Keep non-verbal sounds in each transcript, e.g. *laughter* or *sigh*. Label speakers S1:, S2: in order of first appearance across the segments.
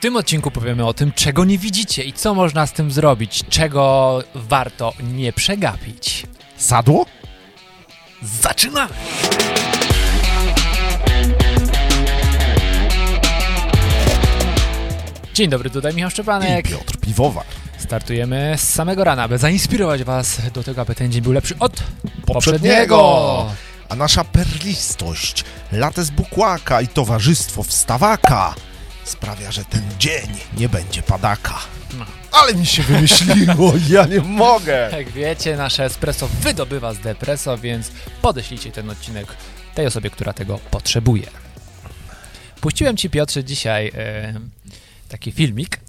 S1: tym odcinku powiemy o tym, czego nie widzicie i co można z tym zrobić, czego warto nie przegapić.
S2: Sadło?
S1: Zaczynamy! Dzień dobry, tutaj Michał Szczepanek.
S2: I Piotr Piwowar.
S1: Startujemy z samego rana, by zainspirować Was do tego, aby ten dzień był lepszy od poprzedniego.
S2: A nasza perlistość, lates bukłaka i towarzystwo wstawaka sprawia, że ten dzień nie będzie padaka.
S1: No.
S2: Ale mi się wymyśliło, *laughs* ja nie mogę.
S1: Jak Tak wiecie, nasze espresso wydobywa z depreso, więc podeślijcie ten odcinek tej osobie, która tego potrzebuje. Puściłem Ci, Piotrze, dzisiaj e, taki filmik.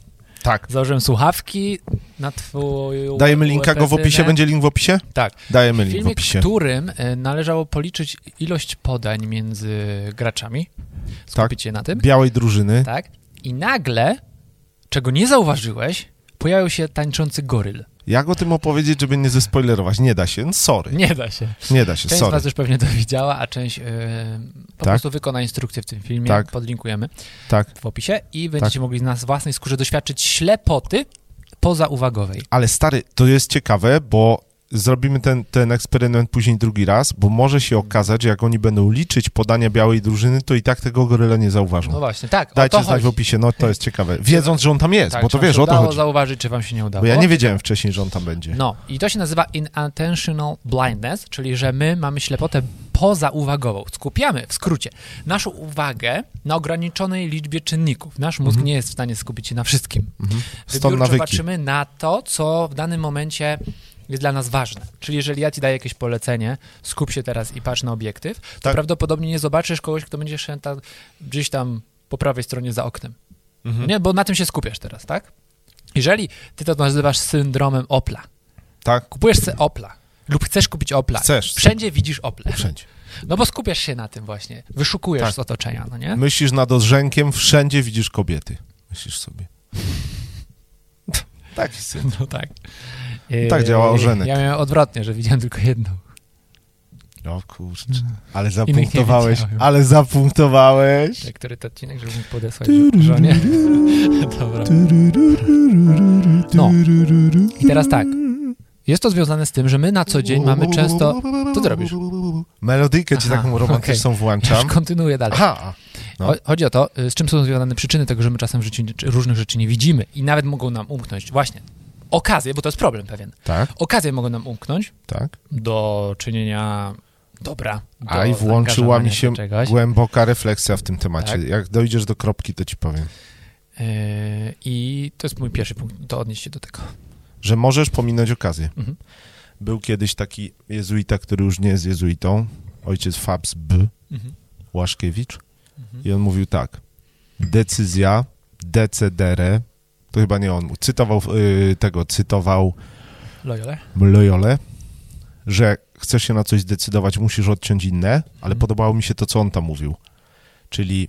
S2: Tak.
S1: Założyłem słuchawki na Twoją...
S2: Dajemy linka go w opisie,
S1: łepetynę.
S2: będzie link w opisie?
S1: Tak.
S2: Dajemy link w
S1: Filmik, w
S2: opisie.
S1: którym e, należało policzyć ilość podań między graczami.
S2: Tak.
S1: Skupić się na tym.
S2: Białej drużyny.
S1: Tak? I nagle, czego nie zauważyłeś, pojawił się tańczący goryl.
S2: Jak o tym opowiedzieć, żeby nie zespoilerować? Nie da się, no sorry.
S1: Nie da się.
S2: Nie da się,
S1: Część z
S2: sorry.
S1: was już pewnie to widziała, a część yy, po
S2: Tak.
S1: prostu wykona instrukcję w tym filmie,
S2: Tak.
S1: podlinkujemy
S2: Tak.
S1: w opisie i będziecie mogli na własnej skórze doświadczyć ślepoty pozauwagowej.
S2: Ale stary, to jest ciekawe, bo zrobimy ten, ten eksperyment później drugi raz, bo może się okazać, że jak oni będą liczyć podania białej drużyny, to i tak tego goryla nie
S1: No
S2: zauważą.
S1: właśnie, tak,
S2: Dajcie
S1: o to
S2: znać w
S1: chodzi.
S2: opisie, no to jest ciekawe. Wiedząc, że on tam jest,
S1: Tak,
S2: bo
S1: czy
S2: to
S1: wam
S2: wiesz,
S1: się
S2: o to
S1: udało
S2: chodzi.
S1: zauważyć, czy wam się nie udało.
S2: Bo ja nie wiedziałem wcześniej, że on tam będzie.
S1: No, i to się nazywa inattentional blindness, czyli że my mamy ślepotę pozauwagową. Skupiamy, w skrócie, naszą uwagę na ograniczonej liczbie czynników. Nasz mózg nie jest w stanie skupić się na wszystkim.
S2: Stąd
S1: Wybiórczo
S2: Mhm. nawyki.
S1: patrzymy na to, co w danym momencie jest dla nas ważne. Czyli jeżeli ja ci daję jakieś polecenie, skup się teraz i patrz na obiektyw, to
S2: Tak.
S1: prawdopodobnie nie zobaczysz kogoś, kto będzie szedł tam- gdzieś tam po prawej stronie za oknem.
S2: Mhm.
S1: Nie, bo na tym się skupiasz teraz, tak? Jeżeli ty to nazywasz syndromem Opla,
S2: Tak?
S1: kupujesz sobie Opla lub chcesz kupić Opla,
S2: Chcesz.
S1: wszędzie widzisz Ople.
S2: Wszędzie.
S1: No bo skupiasz się na tym właśnie, wyszukujesz
S2: Tak.
S1: z otoczenia, no nie?
S2: Myślisz nad odrzękiem, wszędzie widzisz kobiety. Myślisz
S1: *laughs*
S2: sobie. Taki syn.
S1: *laughs* No tak.
S2: Tak
S1: Yy,
S2: działa orzenek.
S1: Ja miałem odwrotnie, że widziałem tylko jedną.
S2: O kurczę. Ale
S1: No. nie
S2: zapunktowałeś,
S1: widziałem.
S2: ale zapunktowałeś.
S1: Tak, Który to odcinek, żeby mi podesłać Tak, że- żonie? *laughs* Dobra. No. I teraz tak. Jest to związane z tym, że my na co dzień mamy często... Co ty robisz?
S2: Melodyjkę ci
S1: Aha,
S2: taką romantyczną
S1: Ja już
S2: włączam.
S1: kontynuuję dalej.
S2: Aha, no.
S1: Cho- Chodzi o to, y, z czym są związane przyczyny tego, że my czasem w życiu nie- czy różnych rzeczy nie widzimy i nawet mogą nam umknąć. Właśnie. Okazje, bo to jest problem pewien.
S2: tak,
S1: Okazje mogą nam umknąć
S2: tak.
S1: do czynienia dobra. Do
S2: A i włączyła
S1: zaangażowania
S2: mi się
S1: do Czegoś.
S2: głęboka refleksja w tym temacie.
S1: Tak.
S2: Jak dojdziesz do kropki, to ci powiem.
S1: Yy, I to jest mój pierwszy punkt, to odnieść się do tego.
S2: Że możesz pominąć okazję.
S1: Mhm.
S2: Był kiedyś taki jezuita, który już nie jest jezuitą, ojciec Fabs B.
S1: Mhm.
S2: Łaszkiewicz i on mówił tak. Decyzja, decedere, E. to chyba nie on, cytował y, tego, cytował
S1: Loyola?
S2: Loyole, że chcesz się na coś zdecydować, musisz odciąć inne, ale
S1: Mhm.
S2: podobało mi się to, co on tam mówił. Czyli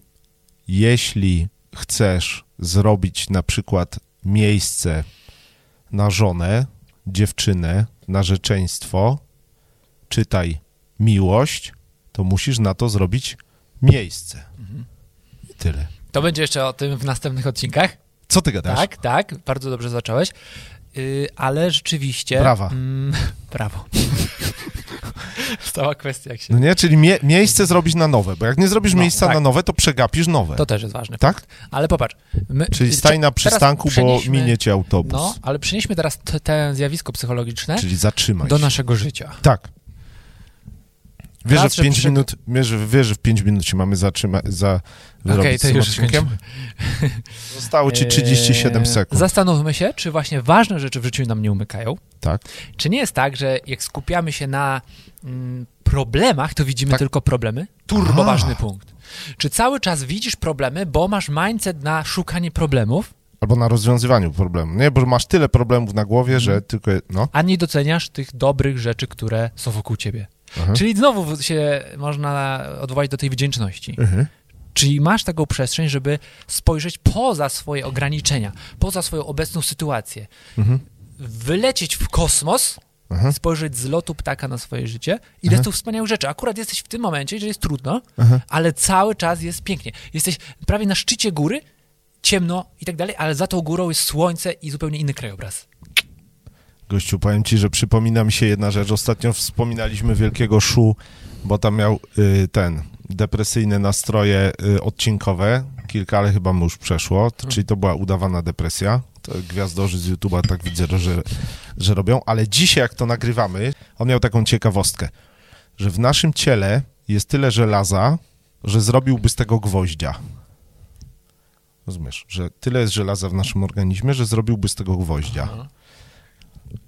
S2: jeśli chcesz zrobić na przykład miejsce na żonę, dziewczynę, narzeczeństwo, czytaj miłość, to musisz na to zrobić miejsce.
S1: Mhm.
S2: I tyle.
S1: To będzie jeszcze o tym w następnych odcinkach.
S2: Co ty gadasz?
S1: Tak, tak, bardzo dobrze zacząłeś. Yy, ale rzeczywiście.
S2: Brawa.
S1: Mm, *laughs* brawo. Stała kwestia, jak się.
S2: No nie, czyli mie- miejsce zrobić na nowe, bo jak nie zrobisz
S1: No,
S2: miejsca
S1: tak.
S2: na nowe, to przegapisz nowe.
S1: To też jest ważne.
S2: Tak?
S1: Ale popatrz. My,
S2: Czyli
S1: czy-
S2: staj na
S1: teraz
S2: przystanku, bo
S1: przenieśmy-
S2: minie cię autobus.
S1: No, ale przenieśmy teraz t- to zjawisko psychologiczne
S2: Czyli zatrzymaj
S1: do
S2: się.
S1: naszego życia.
S2: Tak. Wiesz, że
S1: Raz,
S2: w
S1: że
S2: 5
S1: przy-
S2: minut, wiesz, że- wiesz, że w pięć minut się mamy zatrzymać, za
S1: Okej,
S2: wyrobić
S1: to
S2: z tym
S1: już
S2: odcinkiem.
S1: skończymy.
S2: Zostało ci
S1: Eee,
S2: 37 sekund,
S1: Zastanówmy się, czy właśnie ważne rzeczy w życiu nam nie umykają.
S2: tak?
S1: Czy nie jest tak, że jak skupiamy się na mm, problemach, to widzimy
S2: Tak.
S1: tylko problemy? Turbo
S2: A.
S1: ważny punkt. Czy cały czas widzisz problemy, bo masz mindset na szukanie problemów,
S2: Albo na rozwiązywaniu problemu, nie? Bo masz tyle problemów na głowie, że tylko, no,
S1: a nie doceniasz tych dobrych rzeczy, które są wokół ciebie? Czyli znowu się można odwołać do tej wdzięczności.
S2: Mhm.
S1: Czyli masz taką przestrzeń, żeby spojrzeć poza swoje ograniczenia, poza swoją obecną sytuację. Wylecieć w kosmos,
S2: Mhm.
S1: spojrzeć z lotu ptaka na swoje życie i mhm. tu wspaniałych rzeczy. Akurat jesteś w tym momencie, że jest trudno, ale cały czas jest pięknie. Jesteś prawie na szczycie góry, ciemno i tak dalej, ale za tą górą jest słońce i zupełnie inny krajobraz.
S2: Gościu, powiem ci, że przypomina mi się jedna rzecz. Ostatnio wspominaliśmy Wielkiego Szu, bo tam miał y, ten depresyjne nastroje y, odcinkowe. Kilka, ale chyba mu już przeszło. To, czyli to była udawana depresja. To gwiazdorzy z YouTube'a tak widzę, że, że robią. Ale dzisiaj, jak to nagrywamy, on miał taką ciekawostkę, że w naszym ciele jest tyle żelaza, że zrobiłby z tego gwoździa. Rozumiesz, że tyle jest żelaza w naszym organizmie, że zrobiłby z tego gwoździa.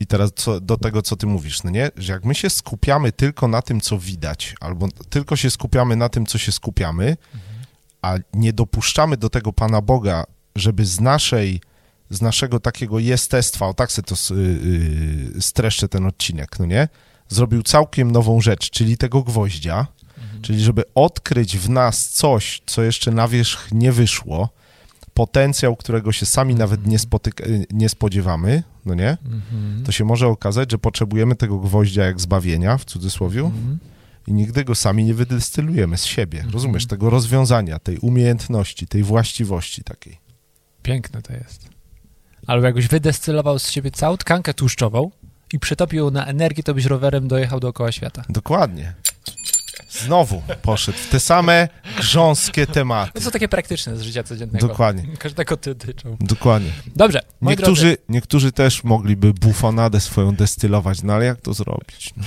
S2: I teraz co, do tego, co ty mówisz, no nie? Że jak my się skupiamy tylko na tym, co widać, albo tylko się skupiamy na tym, co się skupiamy, a nie dopuszczamy do tego Pana Boga, żeby z naszej, z naszego takiego jestestwa, o tak se to s- y, y, streszczę ten odcinek, no nie? Zrobił całkiem nową rzecz, czyli tego gwoździa, czyli żeby odkryć w nas coś, co jeszcze na wierzch nie wyszło, potencjał, którego się sami nawet nie, spotyka, y, nie spodziewamy, no nie? to się może okazać, że potrzebujemy tego gwoździa jak zbawienia, w cudzysłowie, i nigdy go sami nie wydystylujemy z siebie.
S1: Mhm.
S2: Rozumiesz? Tego rozwiązania, tej umiejętności, tej właściwości takiej.
S1: Piękne to jest. Albo jakbyś wydestylował z siebie całą tkankę tłuszczową i przetopił ją na energię, to byś rowerem dojechał dookoła świata.
S2: Dokładnie. Znowu poszedł w te same grząskie tematy.
S1: To są takie praktyczne z życia codziennego.
S2: Dokładnie.
S1: Każdego ty dyczą.
S2: Dokładnie.
S1: Dobrze, moi drodzy,
S2: Niektórzy, niektórzy też mogliby bufonadę swoją destylować, no ale jak to zrobić? No.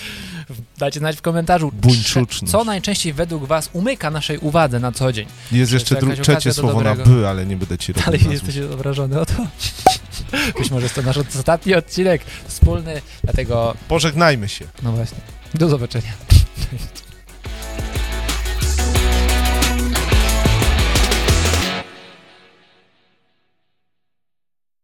S1: dajcie znać w komentarzu,
S2: Buńczuczność.
S1: co najczęściej według was umyka naszej uwadze na co dzień.
S2: Jest jeszcze
S1: jakaś
S2: dru-
S1: okazja
S2: trzecie
S1: do
S2: słowo na
S1: dobrego.
S2: by, ale nie będę ci robił
S1: Dalej
S2: nazwy.
S1: jesteś obrażony o to. *laughs* Być może jest to nasz ostatni odcinek wspólny, dlatego
S2: Pożegnajmy się.
S1: no właśnie, do zobaczenia.